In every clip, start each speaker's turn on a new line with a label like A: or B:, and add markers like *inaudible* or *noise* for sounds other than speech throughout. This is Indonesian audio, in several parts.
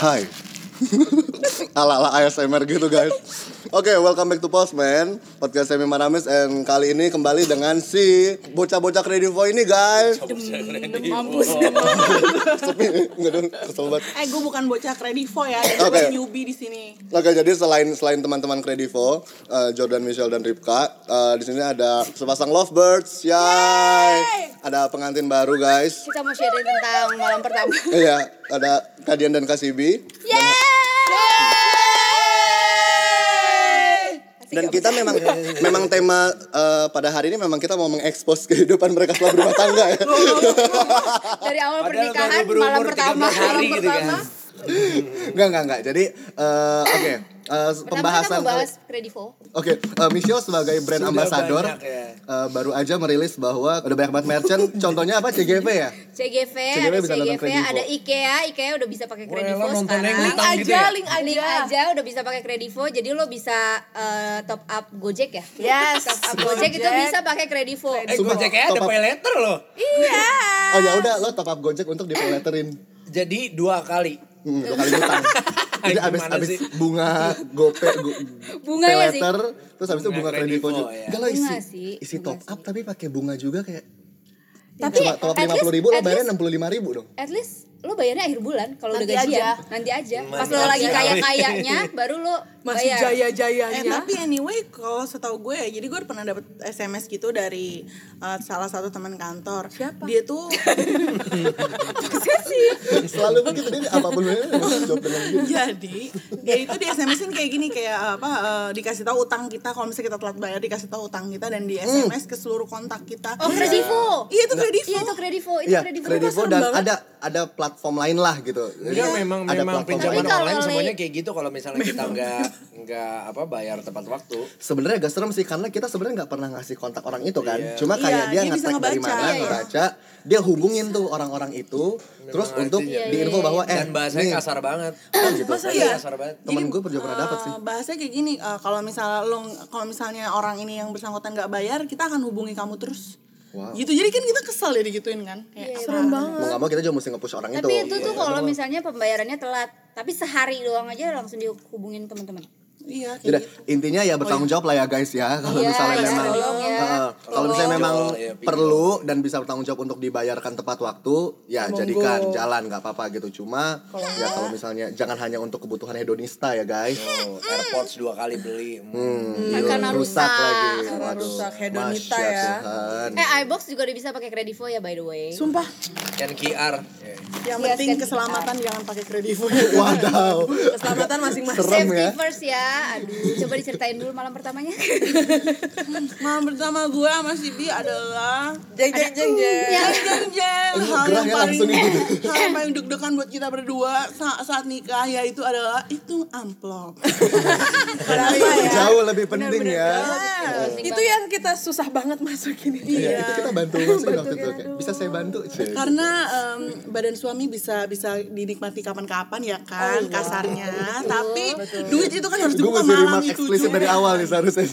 A: Hai. *laughs* Ala-ala ASMR gitu guys. Oke, welcome back to Postman, podcast Semi Maramis and kali ini kembali dengan si bocah-bocah kredivo ini guys.
B: Dem- mampus.
A: Sepi, *laughs* enggak dong, kesel banget.
B: eh gue bukan bocah kredivo ya, gue
A: Oke.
B: newbie di sini.
A: Oke, jadi selain selain teman-teman Kredivo, eh, Jordan, Michelle dan Ripka, eh, di sini ada sepasang lovebirds. Yay! Ada pengantin baru, guys.
C: Kita mau sharing tentang malam *laughs* pertama.
A: Iya, ada Kadian dan Kasibi. Dan kita memang memang tema eh, pada hari ini memang kita mau mengekspos *laughs* kehidupan mereka setelah berumah tangga ya.
C: Dari awal
D: Padahal baru
C: pernikahan
D: berumur
C: malam pertama,
D: 13 hari
C: malam
D: gitu kan.
C: pertama.
A: Enggak, enggak, enggak. Jadi eh, oke, eh,
C: Pertama kita
A: pembahasan
C: mau bahas Kredivo.
A: Oke, eh, Michelle sebagai brand
D: Sudah
A: ambassador
D: banyak ya.
A: eh, baru aja merilis bahwa ada banyak banget
C: *laughs*
A: merchant. Contohnya apa? CGV ya?
C: CGV,
A: CGV
C: ada
A: bisa nonton
C: CGV,
A: Kredivo.
C: ada IKEA, IKEA udah bisa pakai
D: Wah,
C: Kredivo
D: lo nonton
C: sekarang.
D: yang
C: Link
D: utang gitu
C: aja,
D: ya?
C: link aja. udah bisa pakai Kredivo, jadi lo bisa eh, top up Gojek ya?
B: Yes.
C: top up Gojek itu
B: Gojek.
C: bisa pakai Kredivo.
D: Eh,
A: Sumpah,
D: Gojeknya ada
A: top up.
D: pay letter loh.
C: Iya.
A: Oh ya udah, lo top up Gojek untuk dipoleterin.
D: Jadi dua kali.
A: Hmm, dua kali
D: *laughs*
A: utang. Jadi
D: Gimana
A: abis, abis
D: sih?
A: bunga gope go,
C: Bunganya ya sih.
A: peleter, terus abis itu bunga
D: Bunga
A: kredivo
D: Kredivo,
A: juga.
D: ya.
A: Enggak lo isi,
C: Bunga sih,
A: isi
C: bunga
A: top
C: sih.
A: up tapi pakai bunga juga kayak
C: Tapi
A: Cuma top up
C: at
A: lima puluh
C: least-
A: ribu lo
C: at
A: bayarnya
C: least-
A: enam puluh lima ribu
D: *laughs*
A: dong.
C: At least lo bayarnya akhir bulan kalau udah
B: Nanti aja.
C: gajian. Nanti aja.
A: Iya,
C: Pas
D: Nanti
C: lo lagi
A: *laughs*
D: aja.
C: kaya-kayanya baru lo
E: masih
C: bayar.
B: Eh,
E: jaya-jayanya.
B: tapi anyway kalau setahu gue ya, jadi gue pernah dapet SMS gitu dari eh, salah satu teman kantor.
E: Siapa?
B: Dia tuh
A: Selalu begitu dia apapun *laughs* bayarnya jawab dengan gitu.
B: jadi dia itu di SMS-in kayak gini kayak apa eh, dikasih tahu utang kita kalau misalnya kita telat bayar dikasih tahu utang kita dan di SMS ke seluruh kontak kita.
C: Oh, Kredivo.
B: Iya itu kredit.
C: Iya itu Kredivo, itu
A: Iya,
C: Kredivo.
A: kredivo
B: serem
A: dan
B: banget.
A: ada ada platform lain lah gitu. Jadi
D: Enggak memang
A: ada
D: memang
A: platform
D: pinjaman
A: lain.
C: Tapi kalau
D: online
C: le-
D: semuanya kayak gitu kalau misalnya kita nggak nggak apa bayar tepat waktu.
A: Sebenarnya agak serem sih karena kita sebenarnya nggak pernah ngasih kontak orang itu kan. Cuma
B: Iya,
A: kayak dia
B: dia bisa
A: ngetek dari
B: ngebaca,
A: mana,
B: iya.
A: ngebaca, dia hubungin tuh orang-orang itu, terus
D: artinya.
A: untuk
D: Iya,
A: diinfo bahwa eh
D: Dan bahasanya
A: nih, Oh, gitu.
D: kasar banget.
B: Masa
D: Bahasanya
B: iya?
D: Kasar banget.
A: temen
B: Jadi,
A: gue juga pernah dapat sih
B: eh, bahasanya kayak gini eh, kalau misalnya lo kalau misalnya orang ini yang bersangkutan nggak bayar kita akan hubungi kamu terus
A: Wow.
B: gitu jadi kan kita kesel ya digituin kan kayak serem banget
A: mau nggak mau kita juga mesti nge-push orang itu
C: Tapi itu tuh kalau misalnya pembayarannya telat, tapi sehari doang aja langsung dihubungin teman-teman.
B: iya kayak
A: Jadi,
B: gitu
A: intinya ya bertanggung jawab lah ya guys ya kalau
C: Iya,
A: misalnya
C: iya,
A: memang
C: tolong ya.
A: Heeh. kalau misalnya
D: Tolong.
A: memang
D: Iya, pinjol.
A: perlu dan bisa bertanggung jawab untuk dibayarkan tepat waktu ya jadikan jalan nggak apa-apa gitu cuma ya kalau misalnya jangan hanya untuk kebutuhan hedonista ya guys
D: Oh, AirPods dua kali beli.
A: Hmm,
C: Kan karena rusak.
A: lagi
B: Karena
A: Waduh,
B: rusak, hedonista
A: Masya
B: ya.
A: Tuhan. *laughs*
C: Eh iBox juga udah bisa pakai Kredivo ya by the way.
B: sumpah
D: Dan QR.
B: yang
C: Iya,
B: penting
C: scan
B: keselamatan jangan pakai kredivo
A: Iya. wadaw
E: Keselamatan masing-masing.
A: serem
C: Safety
A: ya
C: first ya. Aduh, coba diceritain dulu malam
B: *laughs*
C: pertamanya.
B: malam Nah, pertama gue sama si Bi adalah
E: Jeng jeng jeng jeng.
C: ya.
B: jeng jeng hal yang
A: gerahnya
B: paling
A: langsung gitu.
B: hal yang paling deg-degan buat kita berdua saat, saat nikah yaitu adalah itu amplop
E: *laughs*
A: jauh lebih penting ya
E: Ah, Itu yang kita susah banget masukin ini.
A: Iya, itu kita bantu masukin waktu itu kayak, bisa saya bantu Cek.
B: karena em, badan suami bisa bisa dinikmati kapan-kapan ya
E: Oh,
B: kan
E: iya.
B: kasarnya tapi duit itu kan harus
A: gue
B: dibuka
A: mesti
B: malam
A: remark
B: itu
A: eksplisit
B: juga.
A: dari awal nih seharusnya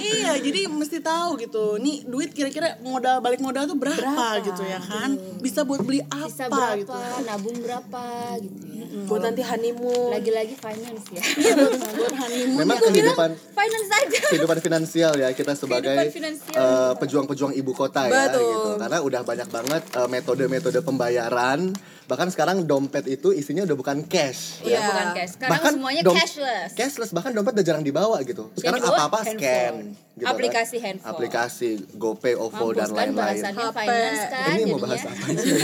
B: iya jadi mesti tahu gitu nih duit kira-kira modal balik modal tuh berapa, gitu ya kan bisa buat beli apa
C: Bisa berapa,
B: gitu
C: nabung berapa gitu ya.
E: Buat nanti honeymoon.
C: Lagi-lagi finance ya. *laughs*
B: Iya, buat honeymoon
A: memang
B: ya kan.
A: kehidupan
C: finance aja.
A: kehidupan finansial ya kita sebagai
C: Kehidupan finansial.
A: eh, pejuang-pejuang ibu kota ya
E: Betul.
A: gitu karena udah banyak banget eh, metode-metode pembayaran bahkan sekarang dompet itu isinya udah bukan cash
C: Iya, bukan cash. Sekarang semuanya
A: dom-
C: cashless.
A: cashless bahkan dompet udah jarang dibawa gitu sekarang
C: dibawa
A: apa-apa
C: handphone.
A: scan gitu kan.
C: Aplikasi handphone.
A: aplikasi GoPay, OVO
C: Mampus
A: dan
C: kan
A: lain-lain
C: bahasannya
E: HP.
C: finance kan
A: ini mau
C: jadinya.
A: bahas apa sih?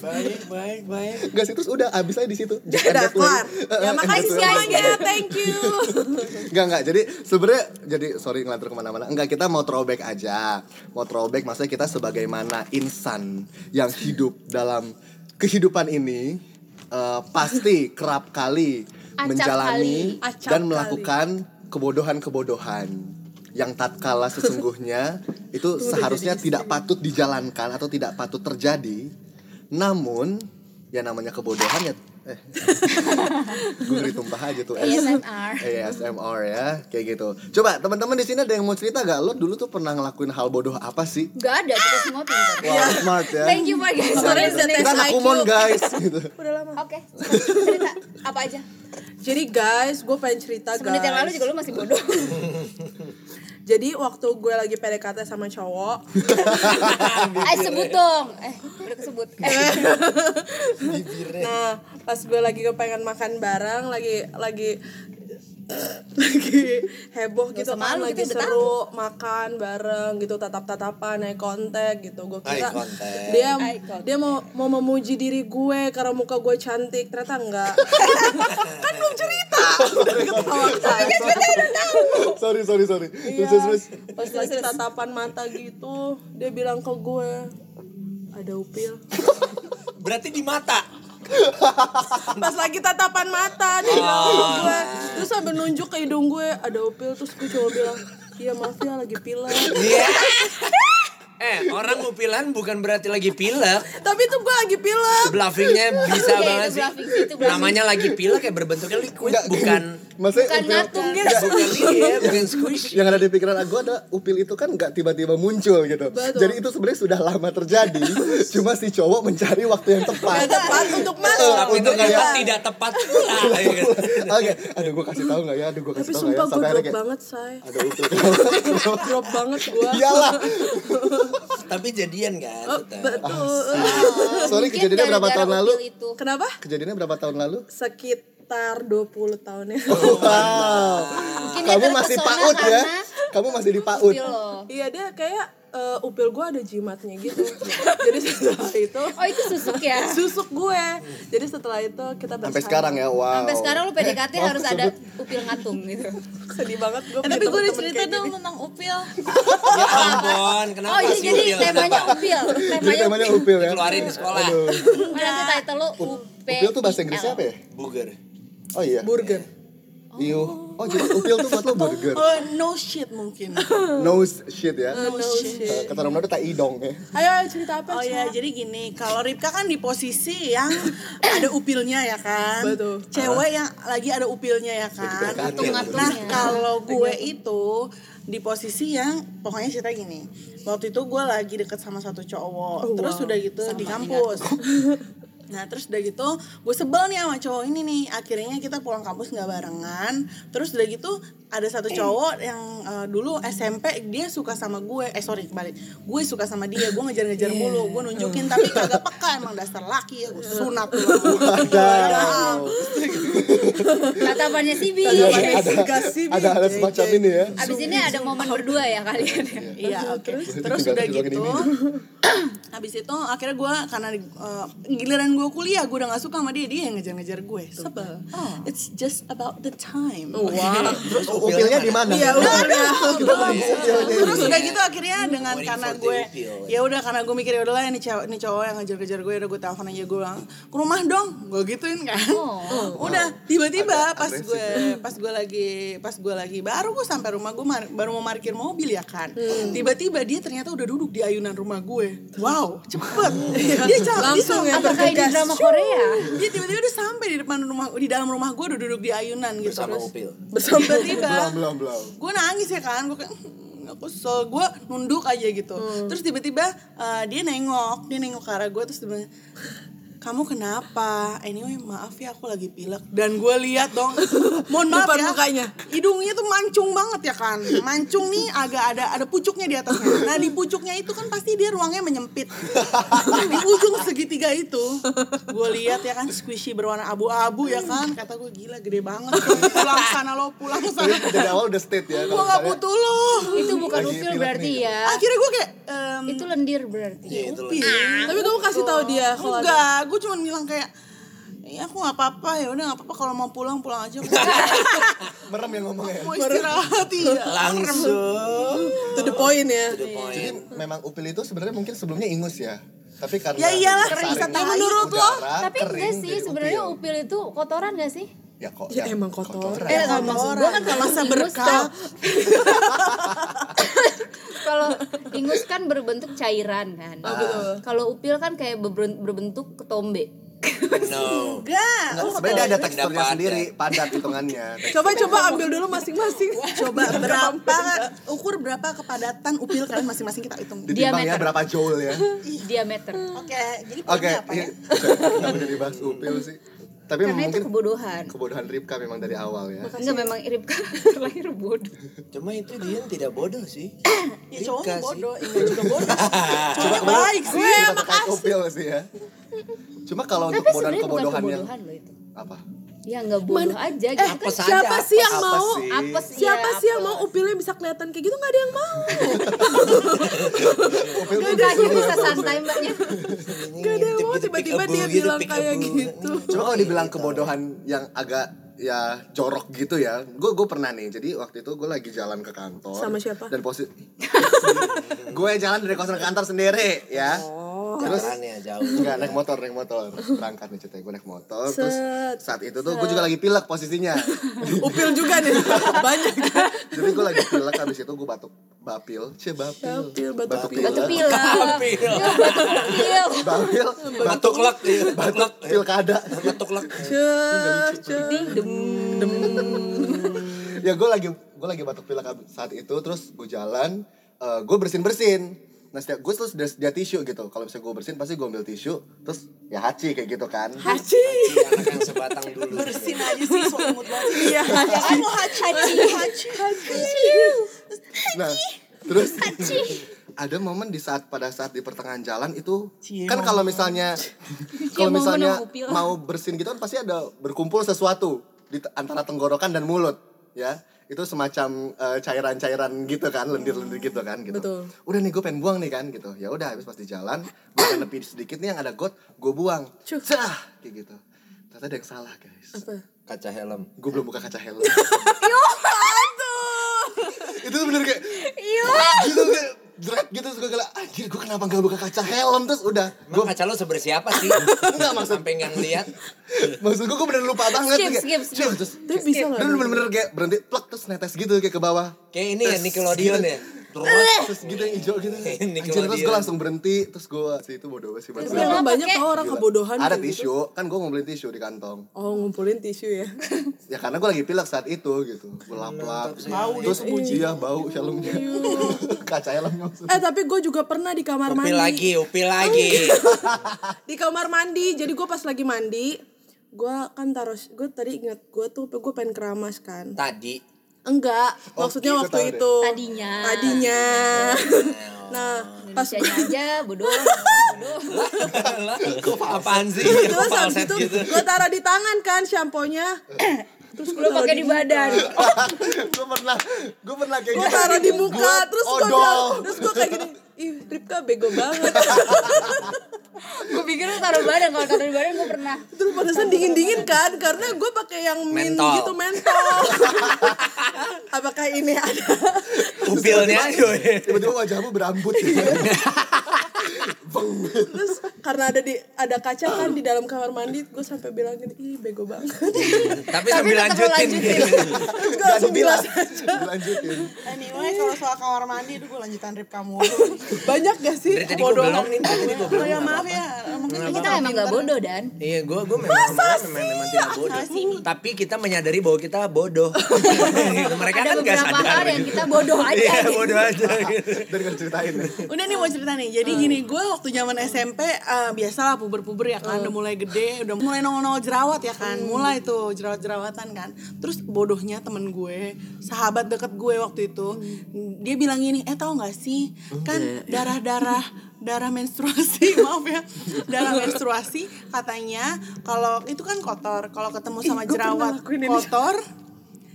D: Baik, baik, baik.
A: Gak sih, terus udah abis aja di situ.
E: Udah kelar. *laughs* Ya
C: Thanks,
E: makasih
C: guys.
E: semuanya. Thank you.
A: Enggak enggak. Jadi sebenarnya jadi sorry ngelantur kemana-mana. Enggak kita mau throwback aja. Mau throwback maksudnya kita sebagaimana insan yang hidup dalam kehidupan ini eh, pasti kerap kali
C: Acap
A: menjalani
E: kali. Acap
A: dan
E: kali.
A: melakukan kebodohan-kebodohan yang tatkala sesungguhnya itu seharusnya tidak patut dijalankan atau tidak patut terjadi. Namun ya namanya kebodohan ya eh, eh gue ngeri tumpah aja tuh
C: ASMR.
A: ASMR ya kayak gitu coba teman-teman di sini ada yang mau cerita gak lo dulu tuh pernah ngelakuin hal bodoh apa sih
C: Gak ada, kita semua pintar.
E: Iya.
A: Wah, smart ya gitu.
C: Thank you my guys.
B: Sorry,
C: Sorry,
B: udah
C: sorry.
B: tes
A: kita anak
B: IQ.
A: kumon guys gitu
B: Udah lama.
C: Oke, silakan. cerita apa aja?
B: Jadi guys, gue pengen cerita
C: Semenit
B: guys.
C: yang lalu juga lu masih bodoh.
B: Jadi waktu gue lagi PDKT sama cowok,
A: *laughs*
C: eh sebut dong. Eh, udah kesebut. Eh,
B: nah pas gue lagi kepengen makan bareng, lagi lagi *laughs* lagi heboh
C: Gak
B: gitu
C: usah
B: kan
C: malu,
B: lagi
C: kita udah
B: seru makan bareng gitu tatap-tatapan naik kontak gitu gue
D: Eye
B: kira
D: contact.
B: dia
C: Eye contact.
B: dia mau mau memuji diri gue karena muka gue cantik ternyata enggak kan belum cerita
A: sorry sorry sorry
B: Iya.
A: terus terus, terus
B: Pas lagi tatapan mata gitu, dia bilang ke gue, ada upil.
D: Berarti di mata.
B: Pas lagi tatapan mata, dia bilang ke gue. Terus sambil nunjuk ke hidung gue, ada upil. Terus gue cuma bilang, iya maaf ya lagi pilek.
D: Iya. *laughs* eh, orang mau pilan bukan berarti lagi pilek.
B: Tapi tuh gue lagi pilek.
D: Bluffingnya bisa
C: Iya, itu
D: banget sih.
C: bluffing sih, itu bluffing.
D: Namanya lagi pilek ya berbentuknya liquid
A: Nggak,
D: bukan
A: maksudnya
C: bukan
A: upil-
C: ngatung gitu.
D: nggak, bukan iya, bukan squish.
A: yang ada di pikiran aku ada upil itu kan nggak tiba-tiba muncul gitu
B: Betul.
A: jadi itu sebenarnya sudah lama terjadi cuma si cowok mencari waktu yang tepat
B: Tepat untuk masuk.
D: Tapi
A: Untuk
D: ternyata
A: kayak- kan?
D: tidak tepat pula.
A: *laughs*
D: Iya.
A: Oke, aduh gue kasih tahu nggak ya, aduh gue
B: Tapi
A: kasih tahu
B: sumpah
A: nggak ya,
B: gue
A: sampai akhirnya
B: drop
A: kayak
B: banget, say.
A: *laughs* ada upil.
B: Drop banget gue.
A: Iyalah,
D: Tapi jadian kan
B: Oh,
D: tetap.
B: betul.
A: Sorry,
C: Mungkin
A: kejadiannya berapa
C: gara-gara
A: tahun lalu?
C: upil Itu.
B: Kenapa?
A: kejadiannya berapa tahun lalu?
B: Sekitar 20 tahun ya. yang lalu.
A: Oh. Wow,
C: Mungkin dia
A: kamu masih
C: terpesona
A: paut ya,
C: karena
A: kamu masih di paut.
C: upil lo.
B: Iya dia kayak eh, upil gue ada jimatnya gitu. Jadi setelah itu
C: Oh itu susuk ya?
B: susuk gue. Jadi setelah itu kita
A: iya. Sampai sekarang ya, wow. Eh,
C: Sampai sekarang lu PDKT harus ada upil ngatung gitu.
B: Sedih banget gue.
E: Eh, tapi gue udah cerita dong tentang upil
D: Ya ampun,
C: Oh
D: kenapa
B: iya,
C: ini
D: sih
C: jadi
D: upil?
C: temanya upil.
A: Jadi
C: Temanya
A: namanya upil ya.
D: *laughs* Keluarin di sekolah.
A: Aduh.
C: Oh, Nanti title lu UP.
A: Upil tuh bahasa Inggrisnya apa ya?
D: Buger.
A: Oh iya.
B: burger.
A: Iu. Oh jadi upil tuh buat lo burger.
C: Oh.
E: Eh, no shit mungkin
A: Nose shit ya.
B: No, Oh,
C: iya.
B: shit.
A: Eh, Kata Romna tuh tak idong ya.
B: Ayo ayo, cerita apa?
E: *laughs* Oh ya, jadi gini, kalau Ripka kan di posisi yang ada upilnya ya kan.
B: Betul.
E: Cewek yang lagi ada upilnya ya kan.
B: Iya.
C: Ngatung-ngatungnya.
E: Nah, kalau gue itu di posisi yang pokoknya cerita gini. Waktu itu gue lagi deket sama satu cowok,
B: Oh,
E: terus
B: wow.
E: udah gitu di kampus. *laughs* Nah terus udah gitu gue sebel nih sama cowok ini nih Akhirnya kita pulang kampus nggak barengan Terus udah gitu ada satu cowok yang eh, dulu SMP dia suka sama gue Eh sorry kembali Gue suka sama dia, gue ngejar-ngejar mulu
B: Iya.
E: Gue nunjukin tapi kagak peka emang dasar laki ya Gue sunat
B: *laughs*
C: Oh,
E: tuh
B: ya
A: Ada.
C: Tatapannya si Bi.
B: Tatapannya si Bi. Gasibin,
A: Iya, Ada hal
B: JJ.
A: semacam
C: Iya,
A: ini ya.
C: Abis ini ada momen berdua ya kalian ya.
E: Iya oke
A: Terus
E: Terus
A: juga
E: udah
A: juga
E: gitu
A: gini.
E: *clears throat* Habis itu akhirnya gue karena eh, giliran gue kuliah gue udah gak suka sama dia Dia yang ngejar-ngejar gue Sebel Oh, It's just about the time
B: Wah.
D: Terus
A: Upilnya di mana?
B: Iya udah.
A: Iya,
E: terus udah gitu akhirnya dengan
D: Waiting
E: karena
D: for the
E: gue
D: appeal.
E: ya udah karena gue mikir ya udahlah ini cowok ini cowok yang ngejar-ngejar gue udah gue telepon aja gue bilang ke rumah dong gue gituin kan *laughs* udah tiba-tiba pas gue pas gue lagi pas gue lagi baru gue sampai rumah gue mar- baru mau parkir mobil ya kan tiba-tiba dia ternyata udah duduk di ayunan rumah gue wow cepet Iya, dia jalan
B: Langsung ya,
C: Apakah ini
B: Bergegas.
C: drama Korea?
E: dia Iya, tiba-tiba udah sampai di depan rumah di dalam rumah gue udah duduk di ayunan gitu
D: Bersama
E: Terus
D: upil.
E: tiba-tiba
A: Iya. Belum belum belum.
E: gue nangis ya kan gue kayak "Hmm, aku kesel gue nunduk aja gitu
A: Hmm.
E: terus tiba-tiba eh, dia nengok dia nengok ke arah gue terus dia bilang kamu kenapa? Anyway, maaf ya aku lagi pilek dan gue lihat
A: *laughs*
E: dong, mohon maaf
B: Depan
E: ya,
B: mukanya.
E: hidungnya tuh mancung banget ya kan, mancung nih agak ada ada pucuknya di atasnya. Nah di pucuknya itu kan pasti dia ruangnya menyempit, Nah, di ujung segitiga itu, gue lihat ya kan squishy berwarna abu-abu ya kan, kata gue gila gede banget, pulang sana lo pulang
A: Jadi
E: sana
A: dari awal udah state ya.
E: gue
A: kalau misalnya-
E: gak butuh lo
C: Itu bukan
A: Lagi
C: upil
A: pilek
C: berarti
A: nih.
C: ya.
E: akhirnya gue kayak ehm,
C: Itu lendir berarti.
A: Ya,
D: Iya, itu loh.
E: Upil.
B: Tapi kamu kasih tahu dia kalau ada-
E: enggak gue cuma bilang kayak ya aku nggak apa-apa ya udah nggak apa-apa kalau mau pulang pulang aja aku
A: merem yang ngomongnya.
E: mau istirahat iya
D: Langsung.
B: To the point ya.
D: The point.
A: Jadi memang upil itu sebenarnya mungkin sebelumnya ingus ya. Tapi karena
E: Ya iyalah,
A: saring
E: bisa tahu.
A: udara,
E: Menurut lo?
C: Tapi enggak
A: kering,
C: sih
A: jadi
C: sebenarnya upil itu kotoran gak sih?
A: Ya kok.
B: Ya, emang kotor.
C: Eh, kalau maksud gue kan kalau
E: masa
C: ingus
E: berkat
C: tuh- Kalau
A: Ah,
C: ingus kan berbentuk cairan kan. Kalau upil kan kayak berben- berbentuk ketombe.
D: No.
E: Enggak.
A: Nggak,
E: Oh,
A: sebenarnya dia ada
D: betul.
A: teksturnya
D: Padat.
A: sendiri, padat
C: *laughs*
A: hitungannya.
B: Coba coba ambil dulu masing-masing.
E: coba berapa ukur berapa kepadatan upil kalian masing-masing kita hitung. Oke,
A: Ditimbang ya
C: Diameter.
A: berapa joule
C: *laughs*
A: ya.
C: diameter.
E: jadi
A: Oke,
E: poinnya apa ya?
A: ini- *laughs* kenapa jadi bahas upil sih? Tapi
C: Karena itu
A: mungkin
C: kebodohan.
A: kebodohan Ripka memang dari awal ya.
C: Enggak memang *laughs* Ripka terlahir bodoh.
D: Cuma itu dia tidak bodoh
B: *clears throat*
D: sih.
E: Ya cowoknya
D: Rika iya, sih.
E: bodoh, enggak juga bodoh. Cowoknya
A: kemarin
E: baik sih.
A: kita terkait upil sih ya. Cuma kalau untuk
C: Tapi
A: kebodohan
C: sebenarnya bukan
A: kebodohan yang
C: kebodohan loh itu.
A: apa?
C: Ya nggak bodoh aja gitu
D: apa
C: kan.
D: sih?
B: Siapa
D: Sadar.
B: sih yang
A: Apa
B: mau?
A: sih?
C: Apes
B: Siapa
C: ya,
B: sih yang
C: apes.
B: mau upilnya bisa kelihatan kayak gitu nggak ada yang mau.
A: Upil tuh
C: Mukanya
A: disuruh-
C: bisa santai ya? mbaknya.
B: Gak ada yang mau tiba-tiba dia bilang kayak gitu.
A: Cuma kalau dibilang kebodohan yang agak ya jorok gitu ya gue gue pernah nih jadi waktu itu gue lagi jalan ke kantor
B: Sama siapa?
A: dan posisi *laughs* gue jalan dari kosan ke kantor sendiri ya
D: Terus ya jauh.
B: *laughs*
A: Enggak, naik motor, naik motor. Berangkat nih ceritanya, gue naik motor. Terus saat itu tuh gue juga lagi pilek posisinya.
B: Upil juga nih. *laughs* Banyak.
A: Jadi gue lagi pilek, habis itu gue batuk bapil. Cie, bapil.
B: Upil batuk
A: Batuk
B: pilek.
C: Batu pilek.
D: Hampir.
C: Iya.
A: Bapil,
D: Batuk lek, iya, batuk lek.
A: pilkada.
D: Batuk lek.
B: Ceh, ceh.
A: *laughs* Ya gue lagi gue lagi batuk pilek saat itu, terus gue jalan, eh, gue bersin-bersin. Nah, setiap gue terus dia, tisu gitu. Kalau misalnya gue bersin pasti gue ambil tisu, terus ya haci kayak gitu kan.
B: Haci.
D: Iya, anak yang sebatang dulu.
E: Bersin aja sih so imut banget.
B: Iya.
E: Ya kan mau haji, haji, haji.
A: Nah, terus *laughs* ada momen di saat pada saat di pertengahan jalan itu
E: Cie,
A: kan kalau misalnya kalau
C: momen
A: misalnya
C: yang upil.
A: mau bersin gitu kan pasti ada berkumpul sesuatu di te- antara tenggorokan dan mulut ya itu semacam eh, cairan-cairan gitu kan lendir-lendir gitu kan gitu
B: Betul.
A: udah nih gue pengen buang nih kan gitu ya udah habis pas di jalan gue pengen lebih sedikit nih yang ada got gue buang
B: Cuk.
A: cah kayak gitu ternyata ada yang salah guys
B: Apa?
D: Kaca helm.
A: gue belum buka kaca
C: *laughs*
A: helm itu tuh bener kayak
C: Iya.
A: gitu kayak dread gitu suka kayak anjir gue kenapa nggak buka kaca helm terus udah gue
D: Emang kaca lo sebersih apa sih?
A: Enggak, maksud-
D: Sampai nggak ngeliat.
A: maksud gue gue bener lupa banget
C: Skip,
A: kayak,
C: skip, skip.
A: "Cuk," terus
B: Tapi bisa nggak?
A: bener bener, bener kayak berhenti plak terus netes gitu kayak ke bawah
D: Kayak ini ya Nickelodeon ya.
A: terus gitu yang hijau gitu
D: Kayak
A: anjir
D: Nickelodeon.
A: terus gue langsung berhenti terus gue sih itu bodoh banget sih
B: Tapi
A: banget.
C: Terus
B: emang
C: Kenapa,
B: banyak
C: Kek?
B: tau orang kebodohan
A: ada
B: kayak gitu.
A: tisu kan gue mau beli tisu di kantong
B: Oh ngumpulin tisu ya. *laughs*
A: ya karena gue lagi pilek saat itu gitu gue lap lap
D: Bau
A: terus iya bau helmnya
C: Iya.
A: *laughs* kaca helmnya maksudnya.
B: Eh tapi gue juga pernah di kamar
D: Upil
B: mandi.
D: lagi, upil lagi.
B: di kamar mandi jadi gue pas lagi mandi gue kan taruh gue tadi ingat gue tuh gue pengen keramas kan
D: Tadi.
B: enggak
A: Oh,
B: maksudnya
A: gue tahu
B: waktu
A: deh.
B: itu
C: Tadinya.
A: *laughs*
B: tadinya nah pas
C: Indonesia aja bodoh. bodoh.
D: *laughs* Lah, Apaan sih?
B: terus habis
D: Falset
B: itu
D: gitu.
B: gue taruh di tangan kan shamponya terus gue
C: Lu pakai di badan.
A: *laughs* gue pernah gue pernah kayak gitu.
B: gue taruh di muka
A: Gua
B: terus gue
A: odol.
B: bilang terus
A: *laughs*
B: gue kayak gini ih Ripka bego banget
C: Gue pikir lu taruh badan kalau taruh di badan gue pernah.
B: terus panasan dingin dingin kan karena gue pakai yang min
D: Mentol.
B: gitu mentol *laughs* apakah ini ada
D: Upilnya.
A: Iya,
D: iya.
A: tiba-tiba wajahmu berambut
B: Iya.
A: gitu.
B: terus karena ada di ada kaca kan di dalam kamar mandi gue sampai bilang gini ih bego banget
A: *laughs*
D: Tapi sambil
C: tetap lu
D: lanjutin. Iya,
B: terus gue langsung bilas
A: lanjutin
E: Anyway, kalau soal kamar mandi itu gue lanjutan rip kamu.
B: banyak gak sih
D: Dari tadi gue
B: bodoh
D: belum nih. Dari tadi gue
E: Oh
D: belum.
E: ya maaf ya, mungkin
C: Kita emang gak bodoh dan.
D: Iya, gue gue memang memang, memang, memang tidak bodoh. Tapi kita menyadari bahwa kita bodoh. Gitu, Mereka
C: Ada
D: kan nggak
C: beberapa
D: sadar.
C: hal yang kita bodoh aja.
D: Iya,
C: gitu.
D: bodoh aja. gitu.
A: dan gak ceritain ya.
E: Udah nih mau cerita nih. Jadi gini, gue waktu zaman SMP eh, biasalah puber-puber ya kan, udah mulai gede, udah mulai nongol-nongol jerawat ya kan. Mulai tuh jerawat-jerawatan kan. Terus bodohnya temen gue, sahabat deket gue waktu itu, dia bilang gini, "Eh, tahu nggak sih? Kan darah-darah darah menstruasi, *laughs* maaf ya. Darah menstruasi katanya kalau itu kan kotor, kalau ketemu sama
B: gue pernah
E: jerawat
B: lakuin ini.
E: kotor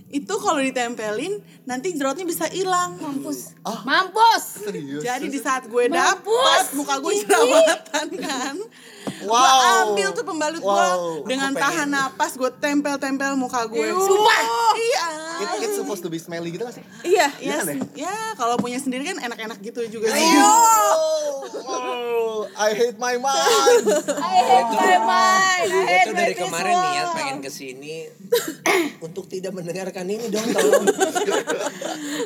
E: itu kalau ditempelin nanti jerawatnya bisa hilang.
C: Mampus. Mampus.
A: serius
E: Jadi di saat gue
C: Mampus,
E: dapet muka gue
C: Cici.
E: jerawatan kan. Gue
A: Wow.
E: ambil tuh pembalut gue
A: Wow.
E: dengan
D: Aku pengen.
E: tahan napas gue tempel-tempel muka gue.
B: Sumpah.
E: Iya.
A: It, it's supposed to be smelly gitu gak sih?
B: Iya.
A: Iya
E: Ya,
A: kan ya?
E: sen- ya kalau punya sendiri kan enak-enak gitu juga sih.
A: Oh, I hate my mind.
C: I hate my mind. I hate
D: Itu
C: my
D: dari kemarin
C: visual.
D: niat pengen kesini *coughs* untuk tidak mendengarkan ini dong tolong.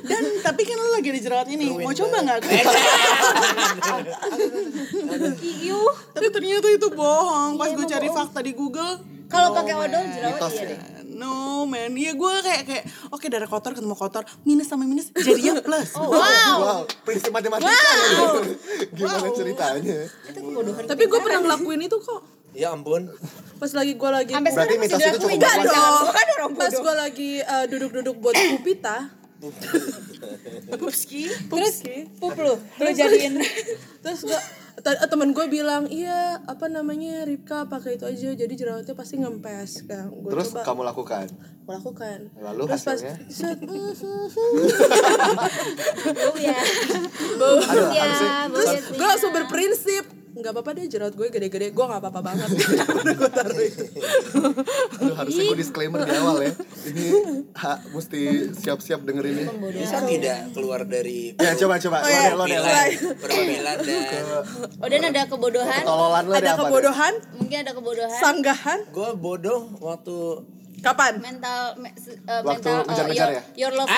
E: Dan tapi kan lu lagi di jerawat ini. Mau coba nggak?
C: Iyu.
E: tapi ternyata itu bohong. Pas gue cari fakta di Google,
C: Kalau pakai odol jerawat
A: mitos
C: iya
A: ya.
C: deh.
E: no man. Iya gue kayak kayak oke darah kotor ketemu kotor, minus sama minus jadinya plus.
A: Wow, prinsip matematika. Wow. Gimana ceritanya?
C: Itu kebodohan.
B: Tapi gue pernah ngelakuin itu kok.
D: *coughs* ya ampun.
B: Pas lagi gue lagi
C: Sampai
A: Berarti
C: sekarang masih
A: mitos itu cukup Enggak
C: dilakuin.
B: Enggak
C: Jangan,
B: dong.
C: gua kan orang
B: Pas
C: bodoh.
B: gue lagi eh, duduk-duduk buat pupita.
E: Pupski.
B: Terus
C: Pup lu. Lu jadiin.
B: terus gua t- teman gue bilang iya apa namanya Ripka pakai itu aja jadi jerawatnya pasti ngempes kan gue
A: Terus
B: coba
A: kamu lakukan.
B: gua lakukan
A: Lalu
B: terus
A: hasilnya?
B: pas set, mm, mm,
C: Bau ya.
A: *laughs* Aduh,
C: Ya,
A: apa sih?
C: bau
B: terus
C: ya.
B: gue langsung berprinsip nggak apa-apa deh jerawat gue gede-gede gue nggak apa-apa banget gue taruh itu
A: Aduh, harusnya gue disclaimer di awal ya. Ini ha, mesti siap-siap dengerin ini.
D: Bisa tidak keluar dari
A: Ya coba coba. Lo
D: Oh,
A: deh, lo deh, lo
D: iya.
A: deh.
D: perwakilan, perwakilan dan
C: Oh dan ada kebodohan.
A: Ketololan lo deh
B: ada
A: apa deh?
B: kebodohan
C: Mungkin ada kebodohan.
B: sanggahan
D: gue bodoh *coughs* waktu
B: kapan
C: mental me- se- uh,
A: Waktu
C: mental uh,
A: ngejar-ngejar
C: your,
A: ya?
C: your love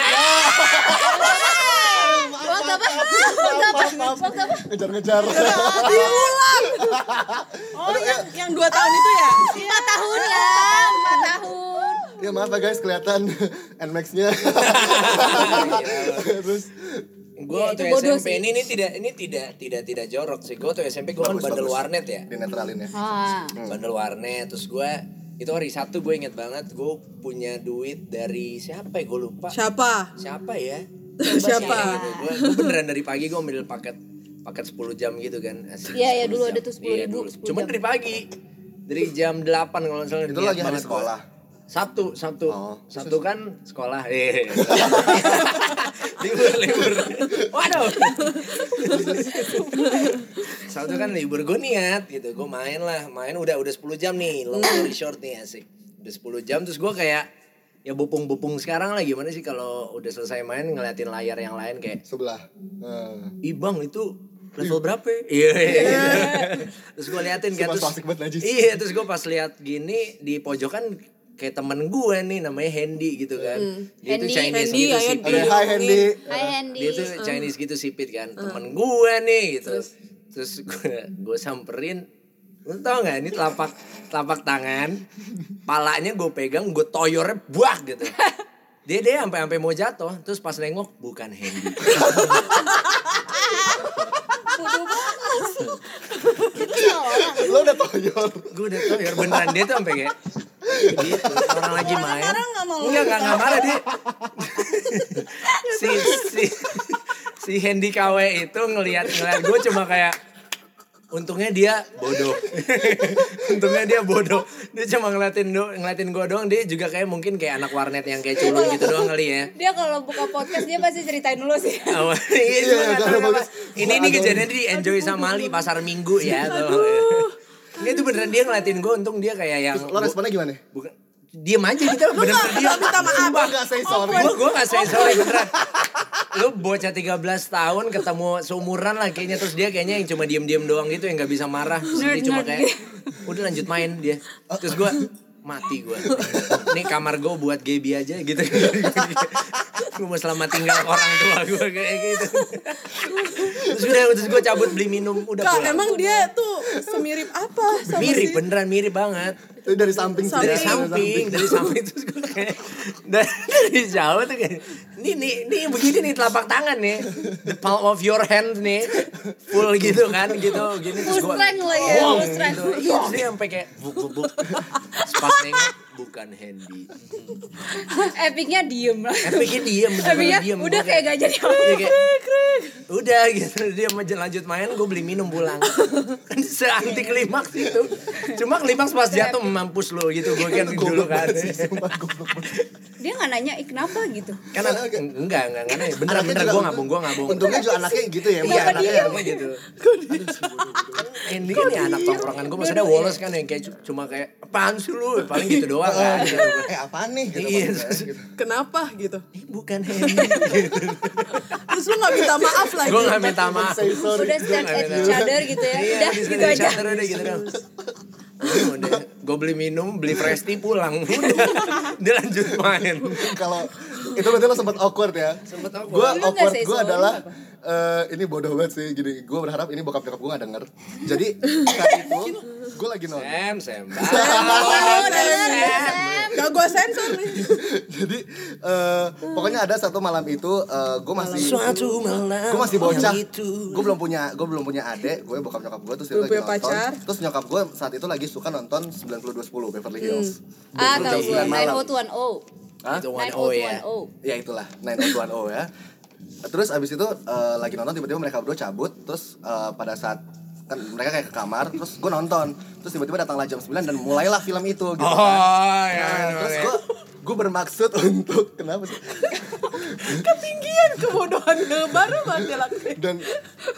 A: Waktu apa? Waktu apa? Ngejar-ngejar.
E: Oh yang yang
B: Eh,
E: dua tahun itu ya?
C: empat tahun lah empat tahun
A: Ya maaf ya guys kelihatan *laughs* NMAX-nya.
D: Ya, Iya.
A: Terus
D: gue
C: Ya,
D: waktu
C: itu bodoh
D: SMP ini, ini tidak ini tidak tidak tidak jorok sih gue waktu SMP gue kan
A: Bagus,
D: bandel
A: bagus.
D: warnet ya
A: dinetralin ya.
C: ah.
D: bandel warnet terus gue itu hari Sabtu gue inget banget gue punya duit dari siapa ya gue lupa
B: siapa
D: siapa
C: *laughs*
D: ya
B: Siapa?
D: gue beneran dari pagi gue ambil paket paket 10 jam gitu kan Asik,
C: Iya, iya,
D: 10
C: dulu ada
D: jam.
C: tuh 10
D: Iya,
C: ribu,
D: dulu.
C: 10
D: cuman
C: jam.
D: dari pagi dari jam 8 kalau nggak salah
A: Itu
D: niat
A: lagi hari
D: banget gua.
A: sekolah?
D: Sabtu, Sabtu,
A: Oh.
D: Sabtu kan sekolah,
A: *laughs*
D: eh, libur, libur, waduh, Sabtu kan libur gue niat gitu, gue main lah, main udah udah 10 jam nih, long
C: Hmm.
D: story short nih asik, udah 10 jam terus gue kayak ya bupung-bupung sekarang lah gimana sih kalau udah selesai main ngeliatin layar yang lain kayak
A: Sebelah. Eh,
D: Ih bang itu level berapa ya? Iya. iya. *laughs* terus gue liatin kan
A: Sumpah
D: terus.
A: asik banget, najis.
D: Iya terus gue pas lihat gini di pojokan kayak temen gue nih namanya Hendy gitu kan. Dia tuh
C: Hendy.
D: Chinese
B: Hendy,
D: gitu
B: ayo
D: sipit.
A: Oke, hai
D: Iya.
A: Hendy.
C: Hai Hendy
D: Dia tuh Chinese gitu sipit kan. Temen gue nih gitu. Terus, gue, gue samperin. Lu tau gak ini telapak telapak tangan. Palanya gue pegang gue toyornya buak gitu. Dia dia sampai sampai mau jatuh, terus pas nengok bukan Hendy.
C: itu salah orang
A: Lo udah toyor.
D: gue udah tau ya beneran dia tuh sampai kayak gitu orang lagi main
E: marah nggak sama lu?
D: enggak enggak enggak marah dia *laughs* si si si Hendy KW itu ngelihat ngelihat gue cuma kayak untungnya dia bodoh *laughs* untungnya dia bodoh dia cuma ngeliatin do- ngeliatin gue doang dia juga kayak mungkin kayak anak warnet yang kayak culun gitu doang kali ya
C: dia kalau buka podcast dia pasti ceritain dulu sih
D: Awal- *laughs* Iya, cuma
A: Iya,
D: nggak tahu
A: karena
D: kenapa.
A: bagus.
D: ini ini kejadian di enjoy sama Ali pasar minggu ya tuh. Ini tuh beneran dia ngeliatin gue untung dia kayak yang
A: Lo responnya gimana?
D: bukan diam aja kita beneran dia minta maaf
A: Enggak say sorry.
D: gue gue nggak say sorry beneran lu bocah 13 tahun ketemu seumuran lah kayaknya terus dia kayaknya yang cuma diem-diem doang gitu yang nggak bisa marah Terus dia cuma kayak udah lanjut main dia terus gue mati gue ini kamar gue buat Gaby aja gitu gue mau selamat tinggal orang tua gue kayak gitu terus udah terus gue cabut beli minum udah
B: Kak,
D: pulang
B: emang dia tuh semirip apa sama
D: mirip
B: si
D: beneran mirip banget
A: Itu dari samping. sih.
D: dari samping dari samping *laughs* terus gue kayak dari, dari jauh tuh kayak ini nih nih begini nih telapak tangan nih the palm of your hand nih full gitu kan gitu gini terus
C: full
D: gue
C: strength lah ya
D: Wow,
C: full strength
D: gitu. Iya, terus dia sampai kayak buk buk buk Terus pas nengok bukan handy
C: *laughs*
D: Eh,
C: epicnya diem lah
D: Epicnya diem,
C: epicnya
D: bener-bener diem.
C: ya, udah
D: Gua
C: kayak gak jadi
D: Iya, kayak, udah gitu dia mau lanjut main gue beli minum pulang kan seanti klimaks itu cuma klimaks pas jatuh mampus lu gitu gue kan dulu kan
C: Dia nggak nanya, "Ih, kenapa gitu?"
D: kan anak- enggak enggak enggak nanya. beneran bener gue nggak bohong gue nggak bohong
A: Untungnya juga anaknya gitu ya.
D: iya
A: anaknya
D: anaknya emang gitu ini kan ya anak tongkrongan gue maksudnya Wallace kan yang kayak cu- cuma kayak apaan sih lu paling gitu doang kan gitu.
A: Eh apaan nih? Gitu,
D: Iya.
A: maksudnya, gitu.
B: Kenapa gitu?
D: Ini bukan Henry
B: Terus lu gak minta maaf lagi.
D: gue nggak minta maaf
A: Say sorry.
C: Udah stand
D: Gua
C: at
D: nggak
C: each
D: minta.
C: other gitu ya.
D: Iya,
C: Udah
D: habis
C: gitu
D: dari
C: aja.
D: charter udah gitu dong. Oh, udah, gue beli minum, beli presti pulang. Udah, dia lanjut main.
A: *clears throat* Kalau itu berarti lo sempat awkward ya?
D: Sempet awkward.
A: Gue
C: Lu nggak
A: awkward
C: say
A: gue
C: sorry
A: adalah
C: apa?
A: eh, ini bodoh banget sih gini gue berharap ini bokap nyokap gue gak denger jadi saat itu gue lagi nonton
D: Sam, Sam.
B: Oh, denger,
D: Sam.
B: Gak gue sensor nih.
A: *laughs* jadi eh, pokoknya ada satu malam itu gue masih
D: Suatu malam.
A: gue masih bocah
D: Itu.
A: gue belum punya gue belum punya adek gue bokap nyokap gue terus dia
B: Belum
A: lagi
B: punya
A: nonton
B: pacar.
A: terus nyokap gue saat itu lagi suka nonton 9210 Beverly Hills
C: Ah, tahu gue.
A: 29 malam.
C: 90210.
A: Hah?
D: Itu one oh ya.
C: 90210.
A: ya itulah 9010 ya terus abis itu eh, lagi nonton tiba-tiba mereka berdua cabut terus eh, pada saat kan mereka kayak ke kamar terus gue nonton terus tiba-tiba datanglah jam 9 dan mulailah film itu gitu
D: Oh,
A: kan.
D: ya.
A: Nah,
D: ya,
A: terus
D: ya.
A: gue gue bermaksud untuk *laughs* kenapa sih
B: Ketinggian kebodohan baru banget dia lakuin.
A: dan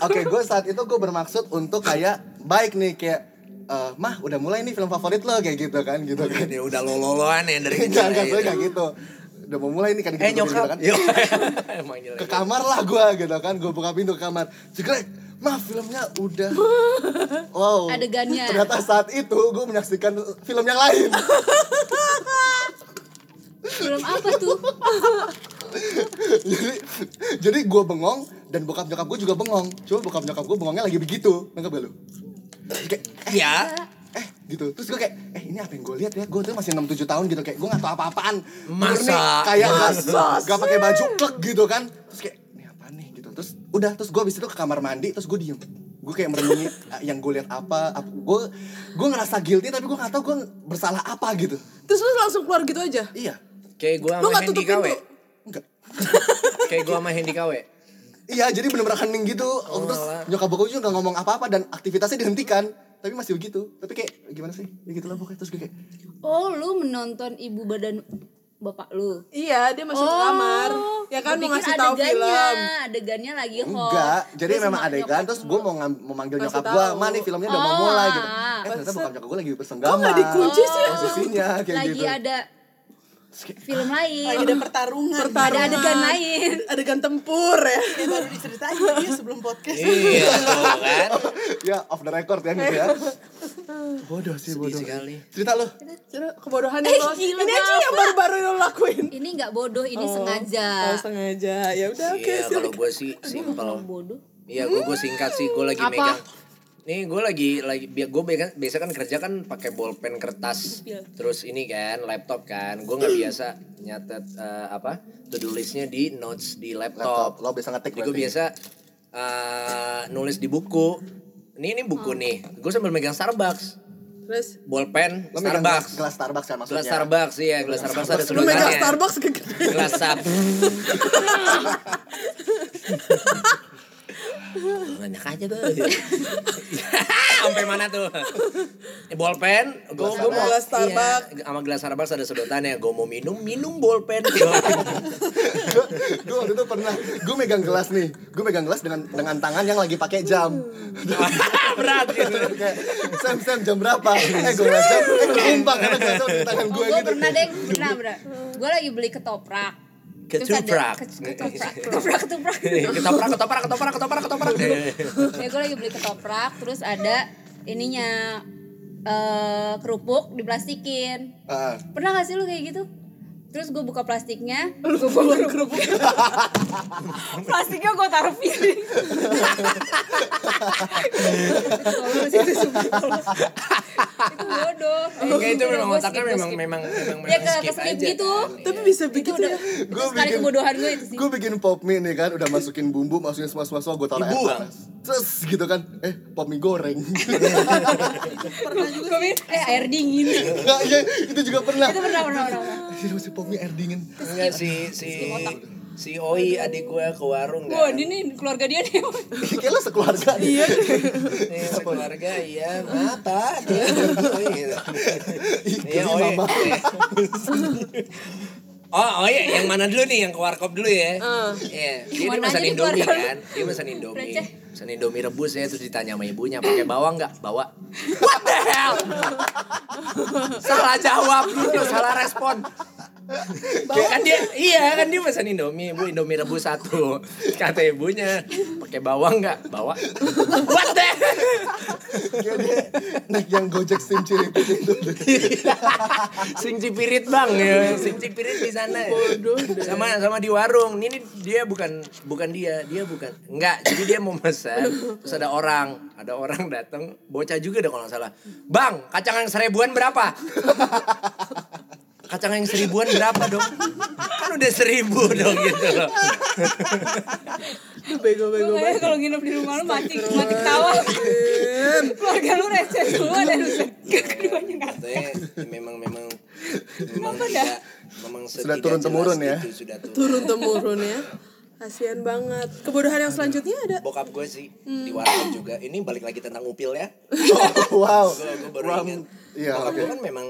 A: oke gue saat itu gue bermaksud untuk kayak baik nih kayak eh, mah udah mulai nih film favorit lo kayak gitu kan gitu
D: *laughs*
A: kan
D: Ini udah lololoan ya dari
A: Enggak,
D: kecil.
A: enggak,
D: ya,
A: gue
D: gitu.
A: enggak gitu Udah mau mulai nih kan
D: Eh
A: gitu-gitu
D: nyokap.
A: kan.
D: Yo. *laughs* Emang jelek.
A: Ke kamar lah gue gitu kan Gue buka pintu ke kamar Jegrek Mah filmnya udah Wow
C: Adegannya.
A: Ternyata saat itu gue menyaksikan film yang lain
C: Belum apa tuh?
A: Jadi jadi gue bengong Dan bokap nyokap gue juga bengong Cuma bokap nyokap gue bengongnya lagi begitu Nangkep gak lu? Kayak
D: Ya.
A: eh gitu terus gue kayak eh ini apa yang gue lihat ya gue tuh masih 6-7 tahun gitu kayak gue gak tau apa-apaan
D: Masa?
A: Murni kayak
D: Masa
A: gak, gak pakai baju plek gitu kan terus kayak ini apa nih gitu terus udah terus gue abis itu ke kamar mandi terus gue diem gue kayak merenungi eh, yang gue lihat apa apa- gue gue ngerasa guilty tapi gue gak tau gue bersalah apa gitu
B: Terus lu langsung keluar gitu aja.
A: iya
D: Kayak gue
B: Lu
D: sama
B: gak
D: Hendy
B: tutup
D: KW.
B: pintu.
A: enggak
D: Kayak gue sama Hendy KW.
A: iya jadi bener-bener hening gitu terus
D: alah.
A: nyokap gue juga gak ngomong apa-apa dan aktivitasnya dihentikan tapi masih begitu tapi kayak gimana sih ya gitu lah pokoknya terus gue kayak
C: Oh, lu menonton ibu badan bapak lu.
B: Iya, dia masuk ke kamar. Ya kan mau
C: Oh. gua pikir
B: ngasih tahu
C: Oh, adegannya,
B: film.
C: Adegannya lagi hoax.
A: Enggak,
B: Oh.
A: jadi
C: Terus
A: memang
C: mak-
A: adegan
C: nyokap
A: terus
C: lu.
A: gue mau ngam- mau manggil
B: Kasih
A: nyokap gue,
B: tahu. Ah.
A: "Ma, nih filmnya udah mau
C: Oh.
A: mulai." gitu. Eh, ternyata
B: Maksud-
A: bokap nyokap gue lagi bersenggama. Oh,
B: Kok nggak dikunci sih ya?
A: Posisinya kayak
C: lagi
A: gitu.
C: ada film lain.
E: lagi ada Iya, pertarungan
B: Pertarungan.
C: Ada adegan lain.
B: Adegan tempur ya.
E: Ini baru diceritain tadi ya sebelum podcast
D: Iya, tuh kan.
A: *laughs* ya off the record ya gitu
B: *laughs*
A: ya. bodoh sih bodoh.
D: sekali.
A: Cerita lu.
B: Kira kebodohan yang lo.
C: Eh, gila,
B: Ini aja
C: maaf.
B: yang baru-baru lo lakuin.
C: Ini nggak bodoh, ini sengaja.
B: Oh, sengaja. Ya udah oke.
D: Iya,
B: silakan.
D: kalau gue sih simpel.
C: bodoh.
D: Iya, gue gue singkat sih, gue lagi
B: Apa?
D: megang. Nih gue lagi lagi gue biasa kan kerja kan pakai bolpen kertas, terus ini kan laptop kan, gue nggak biasa nyatet eh, apa to do listnya di notes di
A: Laptop.
D: laptop.
A: Lo bisa ngetik
D: Jadi gue
A: berarti.
D: biasa eh, nulis di buku. Ini ini buku nih, gue sambil megang Starbucks,
B: Terus
D: bolpen
A: Lo megang gelas,
D: Starbucks,
A: gelas Starbucks kan maksudnya.
D: gelas
A: *laughs*
D: Starbucks iya gelas Starbucks ada
B: lu megang
D: sedotannya.
B: Starbucks ke-
C: Iya.
D: gelas sap banyak aja tuh *laughs* sampai mana tuh Eh, bolpen gue
B: Starbucks. Gelas Starbucks.
D: iya, sama gelas Starbucks ada sedotannya gue mau minum minum bolpen
A: gue waktu itu pernah gue megang gelas nih. Gue megang gelas dengan dengan tangan yang lagi pakai jam.
B: Hmm.
D: berat gitu
A: *laughs* Kayak, Sam, Sam jam
B: *laughs*
A: berapa? Eh gue ngeliat jam, eh gue umpang karena gelasnya di tangan
C: Oh,
A: gue
C: gue
A: gitu.
C: pernah deh, pernah pernah. Gue lagi beli ketoprak. Terus
D: Ketuprak.
C: ada- ke- Ketoprak, ketoprak, ketoprak.
D: ketoprak ketoprak ketoprak ketoprak ketoprak Eh,
C: ya gue lagi beli ketoprak, terus ada ininya eh kerupuk diplastikin.
A: Ah.
C: Pernah gak sih lu kayak gitu? Terus gue buka plastiknya,
B: Lu bawa kerupuk.
C: *laughs* plastiknya gue taruh piring. Tolol sih itu sumpah, tolol. Itu bodoh.
D: Enggak itu memang
C: Gua
D: otaknya
C: skip, gua
D: memang
C: skip.
D: memang memang
C: ya
D: memang
C: ke
D: skip
C: keselip
D: aja.
C: gitu.
B: Tapi bisa begitu ya.
C: Itu
A: Gua
C: sekali
A: bikin-
C: kebodohan gue itu sih.
A: gue bikin pop mie nih kan udah masukin bumbu masukin semua semua semua gue taruh air
D: Dibuang.
A: panas terus gitu kan eh pop mie
D: *laughs*
A: goreng *laughs*
C: Gua bikin, eh air dingin. itu
A: Nah, iya, itu juga pernah
C: pernah pernah pernah. pernah.
A: Jadi masih pop mie air dingin
D: Enggak si si
C: Skip otak.
D: si Oi adik gue ke warung
C: Wah,
D: kan.
C: dia nih keluarga dia nih.
A: Kayak lo sekeluarga deh.
D: Eh, sekeluarga iya mata.
A: Iya,
D: Iya,
A: Oi.
D: Oi. *laughs* Oh, oh iya, yang mana dulu nih? Yang ke warkop dulu ya? Iya, dia, dia
C: Eh. Mana
D: pesan
C: aja
D: Indomie
C: dikeluarkan.
D: kan? Dia pesan Indomie.
C: Receh.
D: Pesan Indomie rebus ya, terus ditanya sama ibunya, pakai bawang nggak? Bawa. What the hell? *laughs* salah jawab dulu, salah respon. kan dia, iya kan dia pesan Indomie, bu Indomie rebus satu. Kata ibunya, pakai bawang nggak? Bawa. *laughs* What the hell?
A: Kayak dia naik yang gojek sim ciri itu.
D: Iya. Sing Cipirit bang, ya. Sing Cipirit di sana. Sama sama di warung. Ini dia bukan bukan dia, dia bukan. Enggak, jadi dia mau pesan. Terus ada orang, ada orang datang, bocah juga deh kalau nggak salah. Bang, kacang yang seribuan berapa? Kacang yang seribuan berapa dong? Kan udah seribu dong gitu loh.
B: Aduh, bego-bego
C: Gue
B: banget.
C: kayaknya kalau nginep di rumah lu mati mati ketawa. Keluarga lu receh semua dan lu *laughs* keduanya nggak.
D: Katanya memang memang memang
C: Kenapa
D: tidak memang
A: Sudah
D: setidak
A: turun-temurun
D: jelas
A: ya?
D: itu, Sudah turun.
B: Turun temurun ya. Kasian banget. Kebodohan yang selanjutnya ada.
D: Bokap gue sih di warung juga. Ini balik lagi tentang upil ya.
A: Oh, Wow.
D: Gue gue baru
A: Ram-
D: ingat.
A: Iya,
D: Bokap
A: oke.
D: gue kan memang